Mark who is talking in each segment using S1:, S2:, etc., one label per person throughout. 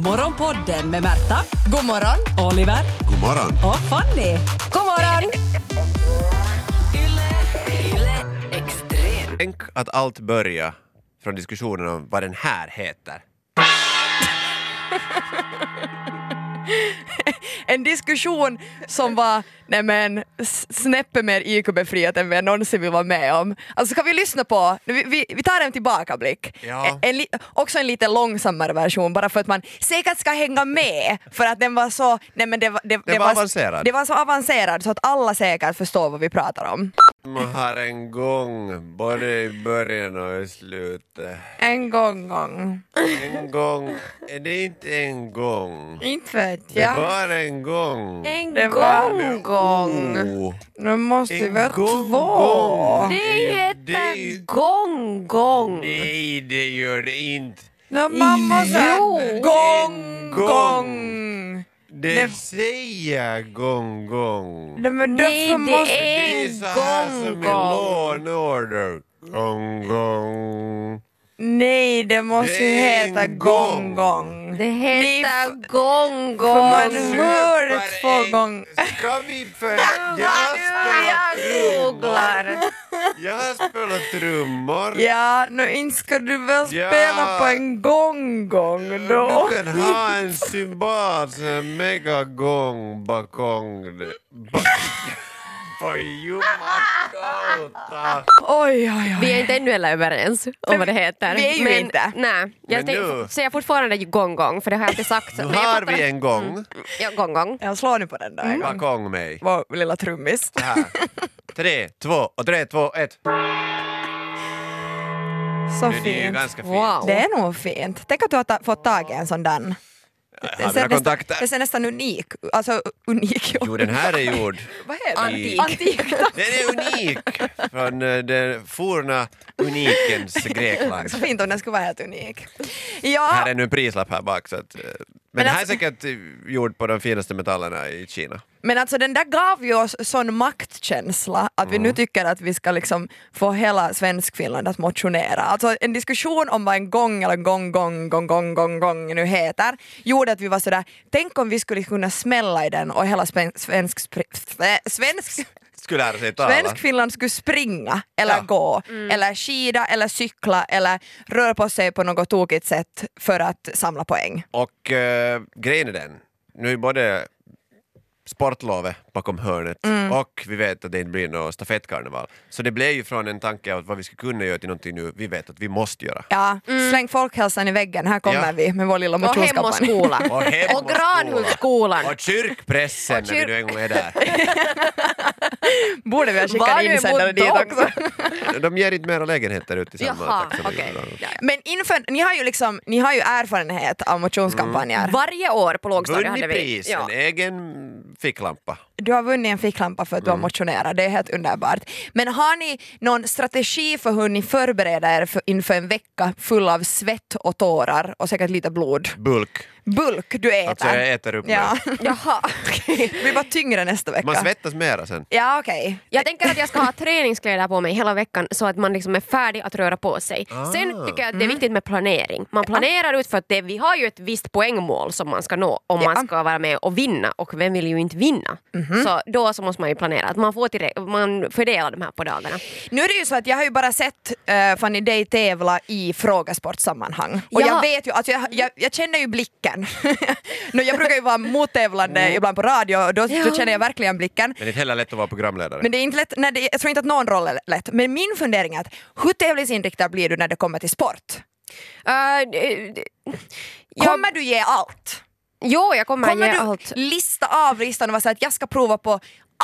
S1: Morgonpodden med Märta,
S2: God morgon!
S1: Oliver
S3: God morgon.
S1: och Fanny.
S2: God morgon!
S4: Tänk att allt börjar från diskussionen om vad den här heter.
S2: En diskussion som var nej men, s- snäppet mer IQ-befriat än vi någonsin vill vara med om. Alltså ska vi lyssna på, nu, vi, vi, vi tar en tillbakablick. E-,
S4: Ja.
S2: En, li- också en lite långsammare version bara för att man säkert ska hänga med för att den var så, nej men det, var- det,
S4: var avancerad.
S2: Det var så avancerad så att alla säkert förstår vad vi pratar om.
S4: Man har en gång, både i början och i slutet.
S2: En gång gång,
S4: En gång, är det inte en gång?
S2: inte vet
S4: Det var en gång.
S5: En
S2: Det var en
S5: gång.
S2: gång.
S4: Oh,
S2: Nu måste vi
S4: en
S2: vara
S4: gång,
S2: två.
S4: gång.
S5: Det
S4: Det är-
S5: heter gång, gång.
S4: Nej, det gör det inte.
S2: Nu mamma sa
S5: Jo.
S2: gång,
S4: En gång.
S2: gång.
S4: Det,
S2: Det-
S4: säger gång, gång.
S2: Nej, men
S5: Nej,
S2: därför
S5: det
S2: måste...
S5: är-
S4: Det är så här som i Law and Order. Gång, gång.
S2: Nej, det måste ju
S4: Det är en
S2: heta
S4: gång.
S2: gång, gång.
S5: Det heter
S2: För
S5: gång, gång.
S2: man hör det två gånger.
S4: Ska vi för... Jag har
S5: Jag
S4: spelat trummor.
S5: googlar.
S4: Jag har spelat trummor.
S2: Ja, nu inte ska du väl
S4: Ja.
S2: spela på en gång, gång då?
S4: Du kan ha en cymbal som är megagång bakom dig. Ba- Oj, jo, Makota.
S2: Oj, oj,
S5: Vi
S2: oj.
S5: är inte ännu heller överens om vad det heter.
S2: vi är ju
S5: men,
S2: inte.
S5: Nej, jag
S4: Men nu-
S5: tänk, säger fortfarande gång, gång, för det har jag inte sagt.
S4: Nu
S5: Men jag
S4: har
S5: fattar-
S4: vi en
S2: Mm.
S4: gång
S5: Ja, gång, gång.
S2: Jag slår nu på den där en
S5: Mm.
S2: gång.
S4: bakom mig.
S2: Vår lilla trummis.
S4: Här. Tre, två och tre, två, ett.
S2: Så
S4: Det är ju
S2: fint.
S4: ganska fint.
S5: Wow.
S2: Det är nog fint. Tänk att du har ta- fått tag i en sån där.
S4: Jag har mina kontakter.
S2: Det ser nästan unik Alltså unik.
S4: Jo, den här är gjord.
S2: Vad heter
S4: Antik.
S2: det? Antik.
S4: Den är unik från eh, den forna unikens Grekland.
S2: Så fint om den skulle vara helt unik. Ja,
S4: Här är nu en prislapp här bak. Så att, eh, men
S2: Men
S4: det här är
S2: alltså-
S4: säkert eh, gjord på de finaste metallerna i Kina.
S2: men alltså den där gav ju oss sån maktkänsla att vi nu tycker att vi ska liksom få hela Svenskfinland att motionera. Alltså en diskussion om vad en gång eller gång, gång, gång, gång, gång, gång nu heter gjorde att vi var sådär, tänk om vi skulle kunna smälla i den och hela sven- svensk, svensk, svensk
S4: Skulle lära sig tala.
S2: Svenskfinland skulle springa eller
S4: Ja.
S2: gå
S5: Mm.
S2: eller skida eller cykla eller röra på sig på något tokigt sätt för att samla poäng.
S4: Och eh, grejen är den, nu är både sportlovet bakom hörnet
S2: Mm.
S4: och vi vet att det inte blir någon stafettkarneval. Så det blev ju från en tanke av vad vi skulle kunna göra till någonting nu vi vet att vi måste göra.
S2: Ja, släng folkhälsan i väggen, här kommer
S4: Ja.
S2: vi med vår lilla
S5: Och Mm. hem och
S2: motionskampanj.
S5: skola.
S4: Och hem
S5: Och Granhultsskolan.
S4: Och kyrkpressen när vi nu en gång är där.
S2: Borde vi ha
S5: Var
S2: skickat
S5: är
S2: insändare
S5: vår
S2: dit
S5: dom?
S2: också?
S4: De ger inte mera lägenheter ute i Sandmark.
S5: Jaha,
S4: tack så mycket.
S5: okej. Ja, ja.
S2: Men inför, ni, har ju liksom, ni har ju erfarenhet av motionskampanjer.
S5: Varje år på lågstadiet hade
S4: Vunnit
S5: vi...
S4: pris,
S5: Ja.
S4: en egen ficklampa.
S2: Du har vunnit en ficklampa för att du har motionerat, det är helt underbart. Men har ni någon strategi för hur ni förbereder er för, inför en vecka full av svett och tårar och säkert lite blod?
S4: Bulk.
S2: Bulk du äter.
S4: Alltså jag äter upp
S2: Ja.
S4: mig.
S5: Jaha.
S2: Vi var tyngre nästa vecka.
S4: Man svettas mera sen.
S2: Ja okej.
S5: Jag tänker att jag ska ha träningskläder på mig hela veckan så att man liksom är färdig att röra på sig.
S2: Ah.
S5: Sen tycker jag
S2: Mm.
S5: att det är viktigt med planering. Man planerar ut för att det, vi har ju ett visst poängmål som man ska nå om
S2: Ja. Mhm.
S5: man ska vara med och vinna och vem vill ju inte vinna? Så då så måste man ju planera att man, får tillräck- man fördelar de här på dagarna.
S2: Nu är det ju så att jag har ju bara sett uh, Fanny dig tävla i frågesportsammanhang. Och
S5: Ja.
S2: jag vet ju, alltså jag, jag, jag känner ju blicken. nu, jag brukar ju vara mottävlande ibland på radio och då, då
S5: Mm. Ja.
S2: känner jag verkligen blicken.
S4: Men det är inte heller lätt att vara programledare.
S2: Men det är inte lätt, nej, det, jag tror inte att någon roll är lätt. Men min fundering är att hur tävlingsinriktad blir du när det kommer till sport?
S5: Eh, d- d- jag,
S2: Kommer du ge allt?
S5: jo, jag kommer,
S2: Kommer
S5: ge
S2: du
S5: allt.
S2: lista av listan och vara så här att jag ska prova på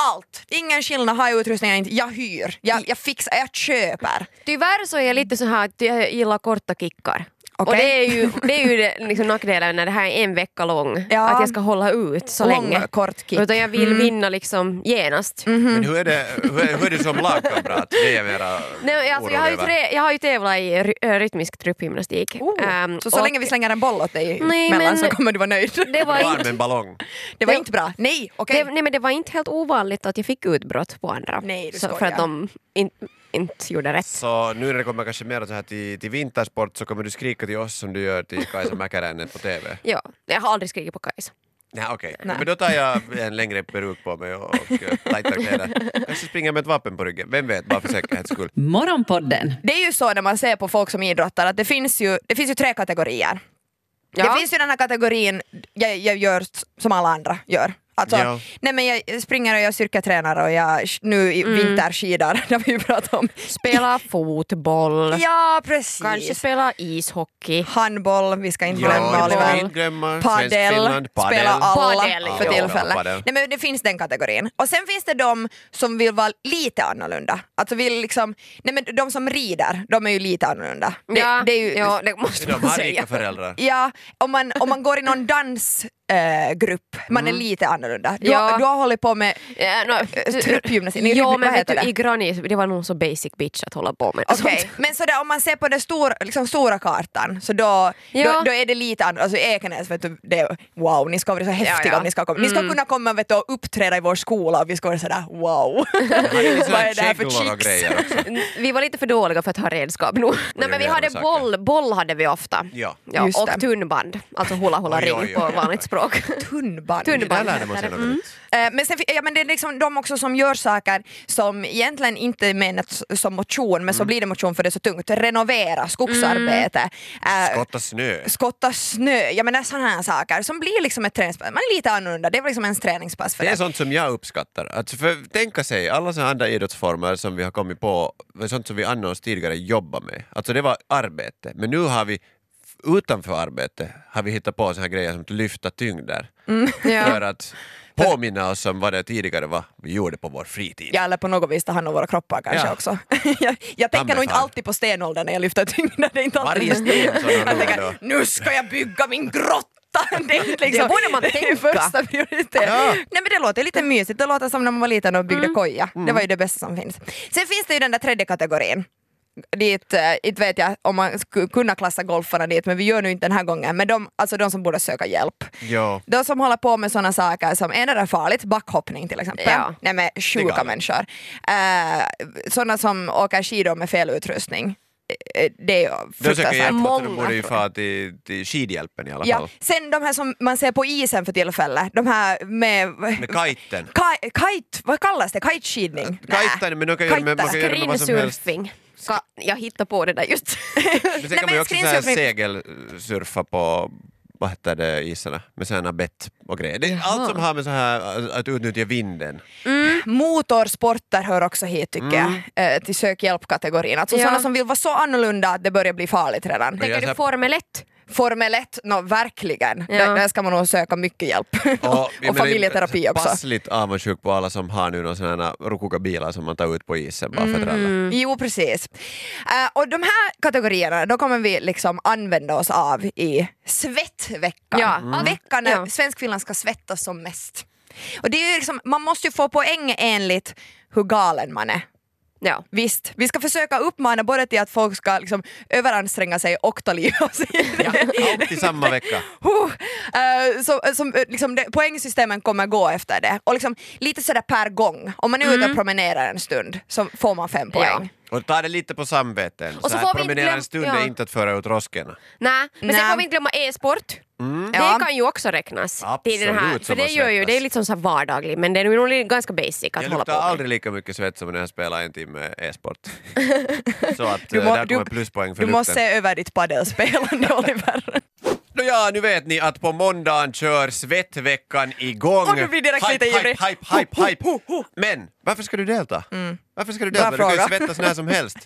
S2: allt? Ingen skillnad, har jag utrustning jag inte, jag hyr, jag, jag fixar, jag köper.
S5: Tyvärr så är jag lite så här att jag gillar korta kickar. Och
S2: Okej.
S5: det är ju, det är ju det, liksom nackdelen när det här är en vecka lång,
S2: Ja.
S5: att jag ska hålla ut så
S2: Lång,
S5: länge.
S2: kort kick. Mm.
S5: Utan jag vill vinna liksom genast.
S4: Men hur är det, hur är, hur är du som lagkamrat? Det är jag mera
S5: Nej, alltså, jag, har ju tre, jag har ju tävlat i ry- äh, rytmisk truppgymnastik. Ehm,
S2: Oh, så så
S5: och
S2: länge vi slänger en boll åt dig
S5: Nej,
S2: mellan
S5: men-
S2: så kommer du vara nöjd.
S5: det var,
S4: Varm
S5: inte,
S4: en ballong.
S2: Det var
S5: det-
S2: inte bra. Nej, okej.
S5: det, nej, men det var inte helt ovanligt att jag fick utbrott på andra.
S2: Nej, du
S5: så, för
S2: skojar.
S5: att de in, inte gjorde rätt.
S4: Så nu när det kommer kanske mer så här till, till vintersport så kommer du skrika till oss som du gör till Kajsa Mäkäräinen på TV.
S5: Ja, jag har aldrig skrikit på Kajsa.
S4: Nej okej, men då tar jag en längre peruk på mig och, och eh, tajtare kläder. Kanske springer med ett vapen på ryggen, vem vet, bara för säkerhets skull.
S1: Morgonpodden
S2: Det är ju så när man ser på folk som idrottar att det finns ju, det finns ju tre kategorier.
S5: Ja.
S2: Det finns ju den här kategorin, jag, jag gör s- som alla andra gör. Alltså,
S4: Ja.
S2: nej men jag springer och jag styrketränar och jag sh- nu i vinterskidor, det har vi ju pratat om.
S5: Mm. Spela fotboll,
S2: Ja precis.
S5: kanske spela ishockey.
S2: Handboll, vi ska inte
S4: Ja,
S2: glömma
S4: det får vi
S2: Oliver.
S4: inte glömma. Svensk
S2: Padel
S4: Finland, padel.
S2: spelar alla
S5: Padel,
S2: för
S5: ja.
S2: tillfället.
S4: Ja, padel.
S2: Nej, men det finns den kategorin. Och sen finns det de som vill vara lite annorlunda. Alltså vill liksom, nej men de som rider, de är ju lite annorlunda. Det,
S5: ja,
S2: det är ju,
S5: ja, det
S4: Är
S5: måste
S4: De
S5: man
S4: har
S5: säga.
S4: rika föräldrar.
S2: Ja, om man, om man går i någon dansgrupp, eh, grupp, man är lite annorlunda. Du,
S5: Mm. Ja.
S2: har, du har hållit på med
S5: Ja, no,
S2: eh, truppgymnastik, Nej,
S5: jo,
S2: vad
S5: men vet
S2: heter
S5: du,
S2: det?
S5: i Granis, det var nog så basic bitch att hålla på med.
S2: Okej,
S5: sånt.
S2: Alltså, men sådär, om man ser på den stora, liksom, stora kartan så då,
S5: Ja.
S2: då, då är det lite annorlunda. Alltså Ekenäs, vet du, det, är- wow, ni ska vara så häftiga
S5: Ja, Mm. ja.
S2: om ni ska komma. Ni ska kunna komma vet du, och uppträda i vår skola och vi ska vara sådär wow.
S4: Har ni såna
S2: Vad
S4: här
S2: är det här för
S4: käglor och
S2: chicks?
S4: grejer också?
S5: Vi var lite för dåliga för att ha redskap nog. Nej, men vi
S4: det är
S5: hade
S4: nog säkert.
S5: boll, boll hade vi ofta.
S4: Ja.
S2: Just det.
S5: och tunnband, alltså hula hula
S4: Oj,
S5: ring
S4: oj, oj,
S5: på
S4: oj.
S5: vanligt språk.
S2: Tunnband.
S5: Tunnband.
S4: Där lärde man sig något nytt.
S2: Eh, Men, sen, ja, men det är liksom de också som gör saker som egentligen inte är menat s- som motion
S5: Mm.
S2: men så blir det motion för det är så tungt. Renovera, skogsarbete,
S5: Mm.
S2: eh,
S4: Skotta snö.
S2: skotta snö, jag menar sådana här saker som blir liksom ett träningspass. Man är lite annorlunda, det var liksom ens träningspass för
S4: Det
S2: det.
S4: är sånt som jag uppskattar. Att för, tänka sig alla såna andra idrottsformer som vi har kommit på, sånt som vi annars tidigare jobbade med. Alltså det var arbete, men nu har vi utanför arbete har vi hittat på såna här grejer som att lyfta tyngder.
S2: Mm,
S4: För att påminna oss om vad det tidigare var vi gjorde på vår fritid.
S2: Ja, eller på något vis ta hand om våra kroppar kanske
S4: Ja.
S2: också. jag, jag tänker nog inte
S4: fan.
S2: alltid på stenåldern när jag lyfter tyngder. Det är inte
S4: Varje sten som
S2: Jag
S4: de
S2: tänker,
S4: då.
S2: nu ska jag bygga min grotta! Det, är inte liksom,
S5: Det borde man
S2: Det är
S5: tänka.
S2: första prioritet.
S4: Ja.
S2: Nej men det låter lite mysigt, det låter som när man var liten och
S5: Mm.
S2: byggde koja. Det var ju det bästa som finns. Sen finns det ju den där tredje kategorin. Dit, eh, inte vet jag om man skulle kunna klassa golfarna dit, men vi gör nu inte den här gången. Men de, alltså de som borde söka hjälp.
S4: Ja.
S2: De som håller på med sådana saker som, är det där farligt? Backhoppning till exempel.
S5: Ja.
S2: Nej men
S4: Det är
S2: sjuka
S4: galet.
S2: människor. Eh, sådana som åker skidor med fel utrustning. Eh, Det är ju
S4: De söker hjälp,
S2: fruktansvärt.
S4: så de
S5: Många,
S4: borde ju
S5: tror jag.
S4: få till, till skidhjälpen i alla
S2: Ja.
S4: fall.
S2: Sen de här som man ser på isen för tillfället, de här med...
S4: Med kajten.
S2: Kaj- kite, vad kallas det? Kiteskidning?
S4: Kajtan, men de kan göra med- man kan göra med vad som helst.
S5: Greensurfing. Ska, jag hittar på det där just.
S4: Men sen kan
S2: Nej,
S4: man ju
S2: men
S4: också så här
S2: screensurfing-
S4: segelsurfa på vad heter det, isarna med såna här bett och grejer. Det är allt som har med så här äh, att utnyttja vinden.
S2: Motorsporter hör också hit tycker
S4: Mm.
S2: jag, eh, till sök hjälp-kategorin. Alltså
S5: Ja.
S2: sådana som vill vara så annorlunda att det börjar bli farligt redan.
S4: jag
S5: Tänker
S4: så här-
S5: du Formel 1?
S2: Formel 1, no, verkligen.
S5: Ja.
S2: Där, där ska man nog söka mycket hjälp. Och,
S4: jag menar,
S2: familjeterapi också.
S4: Passligt avundsjuk på alla som har nu någon sån här rokoka bilar som man tar ut på isen bara för att ralla.
S2: Mm. Jo, precis. Eh, och de här kategorierna då kommer vi liksom använda oss av i Svettveckan.
S5: Ja, Mm. allt-
S2: Veckan när
S5: ja.
S2: svenskfinland ska svettas som mest. Och det är ju liksom, man måste ju få poäng enligt hur galen man är.
S5: Ja.
S2: Visst, vi ska försöka uppmana både till att folk ska liksom överanstränga sig och ta livet av sig.
S4: Alltid samma vecka.
S2: Huh. Eh, så, som, eh, liksom det, poängsystemen kommer gå efter det. Och liksom, lite sådär per gång. Om man är ute och promenerar en stund så får man fem
S5: Mm. Ja. Mm.
S2: poäng.
S4: Och ta det lite på samveten.
S5: så
S4: så här,
S5: får vi inte
S4: promenera
S5: glöm-
S4: en stund
S5: ja.
S4: är inte att föra ut roskorna.
S5: Nej, men
S2: Nej.
S5: sen får vi inte glömma e-sport.
S2: Ja.
S5: Det kan ju också räknas. till den här,
S4: Absolut,
S5: för
S4: som
S5: det
S4: har
S5: gör ju,
S4: svettats.
S5: det är liksom så här vardagligt men det är nog li- ganska basic
S4: Jag
S5: att hålla på
S4: luktar
S5: med.
S4: aldrig lika mycket svett som när jag spelar en timme e-sport. så att
S2: Du
S4: eh,
S2: må-
S4: där
S2: du-
S4: kommer pluspoäng för
S2: Du måste
S4: lukten.
S2: se över ditt padelspelande Oliver.
S4: Nåja, nu vet ni att på måndagen kör Svettveckan igång.
S2: Och du blir direkt
S4: hype, hype,
S2: lite ivrig.
S4: hype, hype, hype.
S2: Ho, ho, ho.
S4: Men varför ska du delta? Varför ska du
S2: Bra
S4: delta? Du kan ju
S2: fråga. Mm.
S4: svettas när som helst.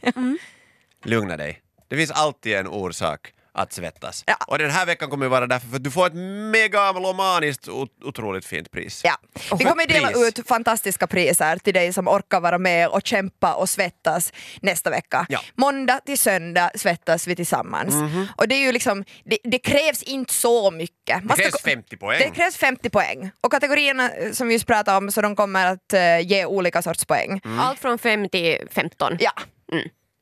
S4: Lugna dig. Det finns alltid en orsak att svettas.
S2: Ja.
S4: Och den här veckan kommer ju vara därför för att du får ett megalomaniskt ot- otroligt fint pris.
S2: Ja. Vi kommer dela
S4: Pris.
S2: ut fantastiska priser till dig som orkar vara med och kämpa och svettas nästa vecka.
S4: Ja. Mhm.
S2: Måndag till söndag svettas vi tillsammans. Och det, är ju liksom, det, det krävs inte så mycket. Man
S4: Det
S2: ska
S4: krävs
S2: gå-
S4: 50 poäng.
S2: Det krävs 50 poäng. Och kategorierna eh, som vi just pratade om, så de kommer att eh, ge olika sorts poäng.
S4: Mm.
S5: Allt från 5 till Mm. 15.
S2: Ja.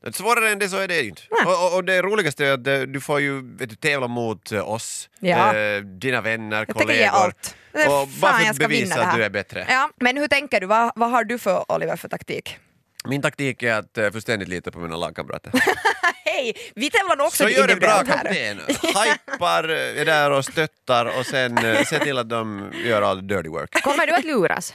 S4: Att Svårare än det så är det ju inte. Och, och, och det roligaste är att eh, du får ju vet du, tävla mot eh, oss,
S2: Ja.
S4: eh, dina vänner,
S2: Jag tänker
S4: kollegor.
S2: ge allt. Eh,
S4: Och bara
S2: Fan,
S4: för
S2: jag
S4: att
S2: ska vinna det
S4: bevisa att
S2: här.
S4: du är bättre.
S2: Ja. Men hur tänker du? Vad, vad har du för Oliver för taktik?
S4: Min taktik är att eh, fullständigt lita på mina lagkamrater.
S2: Hej! Vi tävlar nog också
S4: Så gör en bra
S2: individuellt här.
S4: kapten! Hypar, eh, är där och stöttar och sen eh, ser till att de gör all the dirty work.
S5: Kommer du att luras?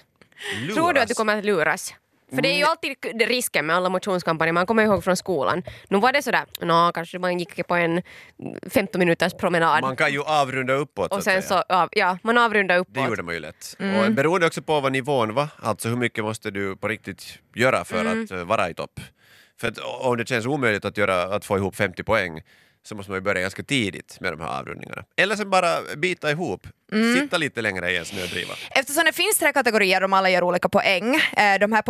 S5: Tror du att du
S4: Luras. Mm.
S5: kommer att luras? För det är ju alltid k- det risken med alla motionskampanjer, man kommer ihåg från skolan. Nu var det sådär, nå kanske man gick på en 15 minuters promenad
S4: Man kan ju avrunda uppåt
S5: och
S4: så
S5: sen
S4: att säga.
S5: så, Mm. ja, ja man avrundar uppåt.
S4: Det gjorde man ju lätt. Och beroende också på vad nivån var, alltså hur mycket måste du på riktigt göra för
S5: Mm.
S4: att eh, vara i topp. För att o- om det känns omöjligt att, göra, att få ihop 50 poäng så måste man ju börja ganska tidigt med de här avrundningarna. Eller sen bara bita ihop,
S5: Mm.
S4: sitta lite längre i en snödriva.
S2: Eftersom det finns tre kategorier, de alla ger olika poäng. Eh, De här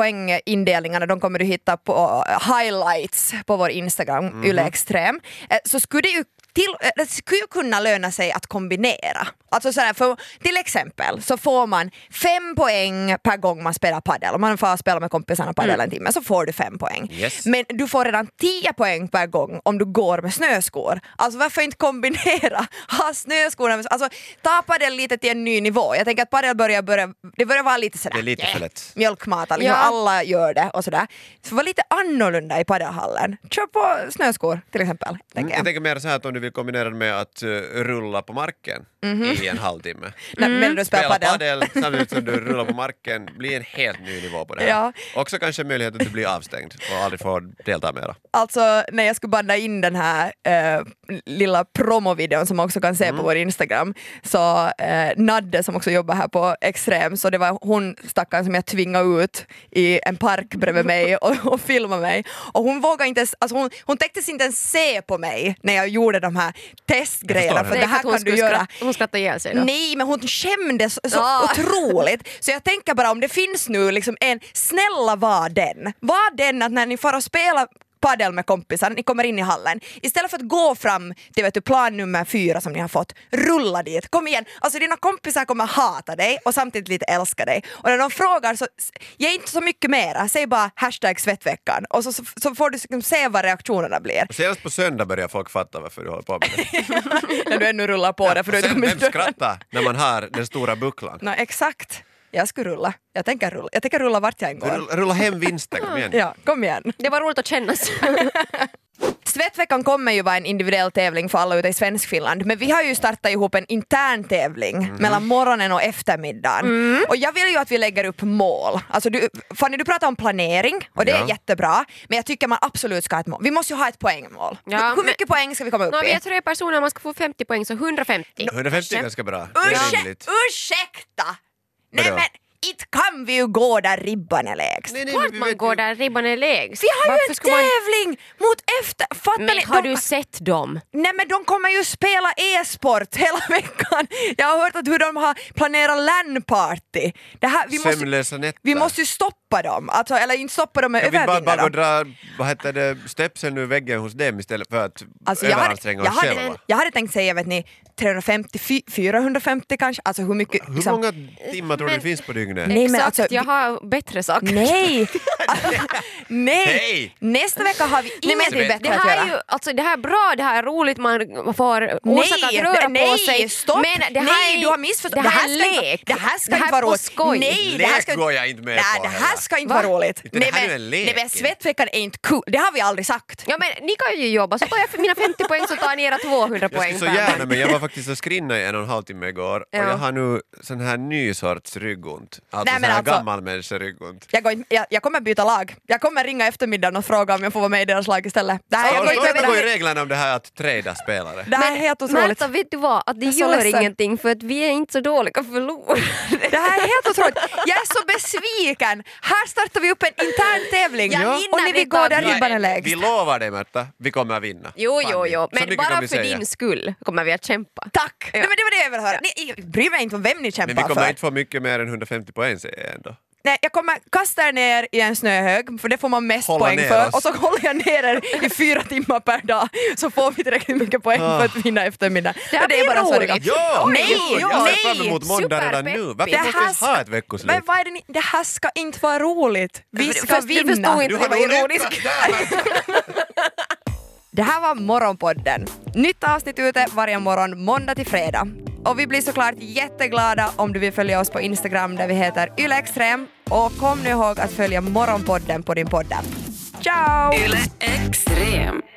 S2: poängindelningarna de kommer du hitta på eh, highlights på vår Instagram, yleextrem. Eh, Så skulle det ju till, eh, det skulle ju kunna löna sig att kombinera. Alltså sådär, för, till exempel så får man fem poäng per gång man spelar padel. Om man får spela med kompisarna padel en timme så får du fem poäng.
S4: Yes.
S2: Men du får redan 10 poäng per gång om du går med snöskor. Alltså varför inte kombinera? Ha snöskorna med, alltså ta padel lite till en ny nivå. Jag tänker att padel börjar, börja, det börjar vara lite sådär
S4: Det är lite för lätt.
S2: mjölkmat, liksom.
S5: Ja.
S2: alla gör det och sådär. Så var lite annorlunda i padelhallen. Kör på snöskor till exempel.
S4: Mm,
S2: Tänker
S4: jag
S2: jag.
S4: tänker mer så här att om du vill kombinera det med att eh, rulla på marken i en halvtimme.
S2: När När du spelar
S4: Spela
S2: Mhm. padel.
S4: padel samtidigt som du rullar på marken, blir en helt ny nivå på det här.
S2: Ja.
S4: Också kanske möjlighet att du blir avstängd och aldrig får delta mera.
S2: Alltså när jag skulle banda in den här eh, lilla promovideon som man också kan se på vår Instagram så eh, Nadde som också jobbar här på Extrem, så det var hon stackaren som jag tvingade ut i en park bredvid mig och, och filmade mig. Och hon vågade inte ens, alltså hon, hon täcktes inte ens se på mig när jag gjorde de här
S4: Jag
S2: testgrejerna
S4: förstår
S2: för
S4: henne.
S2: det här
S5: Säkert hon
S2: kan du
S5: skulle
S2: göra
S5: skratta- Hon skrattade ihjäl sig då.
S2: Nej, men hon kändes så
S5: Ja.
S2: otroligt. Så jag tänker bara om det finns nu liksom en, snälla var den. Var den att när ni får och spela padel med kompisar, ni kommer in i hallen. Istället för att gå fram till vet du, plan nummer fyra som ni har fått, rulla dit, kom igen. Alltså dina kompisar kommer hata dig och samtidigt lite älska dig. Och när de frågar så, s- ge inte så mycket mera, säg bara hashtag svettveckan och så, så, så får du liksom se vad reaktionerna blir.
S4: Och senast på söndag börjar folk fatta varför du håller på med det.
S2: när du ännu rullar på det för du
S4: Och
S2: har
S4: sen,
S2: inte
S4: vem
S2: kommit dörren.
S4: skrattar när man har den stora bucklan?
S2: No, exakt. Jag ska rulla. Jag tänker rulla, jag tänker rulla vart jag än går.
S4: Rulla- Rulla hem vinsten, kom igen.
S2: Ja, kom igen.
S5: Det var roligt att kännas.
S2: Svettveckan kommer ju vara en individuell tävling för alla ute i Svenskfinland men vi har ju startat ihop en intern tävling
S4: Mm.
S2: mellan morgonen och eftermiddagen. Och jag vill ju att vi lägger upp mål. Alltså du, Fanny du pratar om planering och det
S4: Ja.
S2: är jättebra men jag tycker man absolut ska ha ett mål. Vi måste ju ha ett poängmål.
S5: Ja,
S2: Hur- Hur
S5: men-
S2: mycket poäng ska vi komma upp
S5: Nå, vi
S2: i?
S5: är tre personer, man ska få 50 poäng, så 150.
S4: 150 är ganska bra. Det är
S2: Ursä-
S4: rimligt.
S2: ursäkta! Nej
S4: Vadå?
S2: men inte kan vi ju gå där ribban är lägst.
S4: Nej, nej, men
S5: Klart
S4: vi
S5: man
S4: vet
S5: går
S4: ju-
S5: där ribban är lägst.
S2: Vi har
S5: Varför
S2: ju en
S5: skulle man-
S2: tävling mot efter... Fattar
S5: Men
S2: ni?
S5: har
S2: de,
S5: du sett dem?
S2: Nej men de kommer ju spela e-sport hela veckan. Jag har hört att hur de har planerat LAN-party. Det här, vi, måste,
S4: Sömnlösa nätter.
S2: vi måste ju stoppa dem, alltså, eller inte stoppa dem, men
S4: Jag vill bara,
S2: övervinna
S4: bara gå och
S2: dem.
S4: dra vad heter det, stöpseln ur väggen hos dem istället för att
S2: Alltså, jag, hade,
S4: överanstränga
S2: jag,
S4: oss
S2: hade,
S4: själva.
S2: jag hade tänkt säga vet ni, 350, fy- 450 kanske, alltså hur mycket...
S4: Hur
S2: liksom-
S4: många timmar tror du det
S5: Men-
S4: finns på dygnet?
S2: Nej, men
S5: Exakt,
S2: alltså,
S5: jag
S2: vi-
S5: har bättre saker.
S2: Nej! Nej!
S4: Hej!
S2: Nästa vecka har vi
S5: Nej, men
S2: ingenting bättre
S5: det
S2: att
S5: här
S2: göra.
S5: är ju, alltså det här är bra, det här är roligt, man får orsak att röra på
S2: nej,
S5: sig.
S2: Stopp!
S5: Men det här
S2: nej,
S5: är,
S2: du har missförstått.
S5: Det här,
S2: ska
S5: är
S2: inte-
S5: lek.
S2: Det här ska
S5: det här
S2: inte vara
S5: är på
S2: roligt.
S5: skoj.
S2: Nej, det här
S4: Lek
S2: ska,
S4: går jag inte med
S2: nej,
S4: på
S2: det här
S4: heller.
S2: ska inte
S5: Va?
S2: vara roligt.
S4: Inte, det här är ju en
S2: men, nej,
S4: lek.
S2: men svettveckan är inte kul. Det har vi aldrig sagt.
S5: Ja, men ni kan ju jobba, så tar jag för mina 50 poäng så tar ni era 200
S4: Jag
S5: poäng.
S4: skulle så
S5: per
S4: gärna
S5: man.
S4: men jag var faktiskt och skrinna i en och en halv timme igår
S5: Ja.
S4: och jag har nu sån här ny sorts ryggont. Alltså
S2: Nej,
S4: sån
S2: men
S4: här
S2: alltså-
S4: gammal människa ryggont.
S2: Jag, går, inte- jag, jag kommer byta lag. Jag kommer ringa eftermiddagen och fråga om jag får vara med i deras lag istället. Det här,
S5: Ja,
S2: jag
S4: Står
S2: går inte
S5: men-
S2: med
S4: det
S2: på
S4: går i
S2: det.
S4: reglerna om det här att trada spelare?
S2: Det här är helt otroligt.
S5: Märta, alltså, vet du vad? Att det
S2: Jag är så
S5: gör
S2: ledsen.
S5: ingenting för att vi är inte så dåliga förlorare.
S2: Det här är helt otroligt. Jag är så besviken. Här startar vi upp en intern tävling.
S5: Jag
S2: Ja. Och
S5: hinner
S2: ni vill
S5: inte
S2: gå där
S5: avgöra.
S2: ribban är
S4: Vi
S2: lägst.
S4: lovar dig Märta, vi kommer att vinna.
S5: Jo,
S4: Fan,
S5: jo, jo,
S4: så
S5: men
S4: mycket kan
S5: bara
S4: vi
S5: för
S4: säga.
S5: din skull kommer vi att kämpa.
S2: Tack! Nej, men det var det jag ville höra. Ni, jag bryr mig inte om vem ni kämpar
S4: Men vi kommer
S2: för.
S4: inte få mycket mer än 150 poäng säger jag ändå.
S2: Nej, jag kommer kasta er ner i en snöhög, för det får man mest
S4: Hålla
S2: poäng
S4: ner
S2: för.
S4: oss.
S2: Och så håller jag ner er i fyra timmar per dag, så får vi tillräckligt mycket poäng för
S4: Ah.
S2: att vinna eftermiddag.
S5: Det här
S2: Och
S5: blir
S2: så
S5: roligt.
S2: går.
S4: Ja!
S2: Nej,
S4: jo, jag
S2: nej,
S4: ser fram emot måndag redan
S5: superpeppig.
S4: nu. Varför
S2: Det
S4: måste
S2: här
S4: vi
S2: ska-
S4: ha ett veckoslut?
S2: Men vad är det ni, det här ska inte vara roligt. Vi
S5: Men
S2: ska
S5: fast du
S2: vinna.
S5: förstod inte.
S4: Du har
S5: Det var
S4: nog rätt
S5: ironisk.
S4: där, Märta.
S2: Det här var Morgonpodden. Nytt avsnitt ute varje morgon måndag till fredag. Och vi blir såklart jätteglada om du vill följa oss på Instagram där vi heter ylextrem Och kom nu ihåg att följa Morgonpodden på din poddapp. Ciao!
S5: Yle Extrem.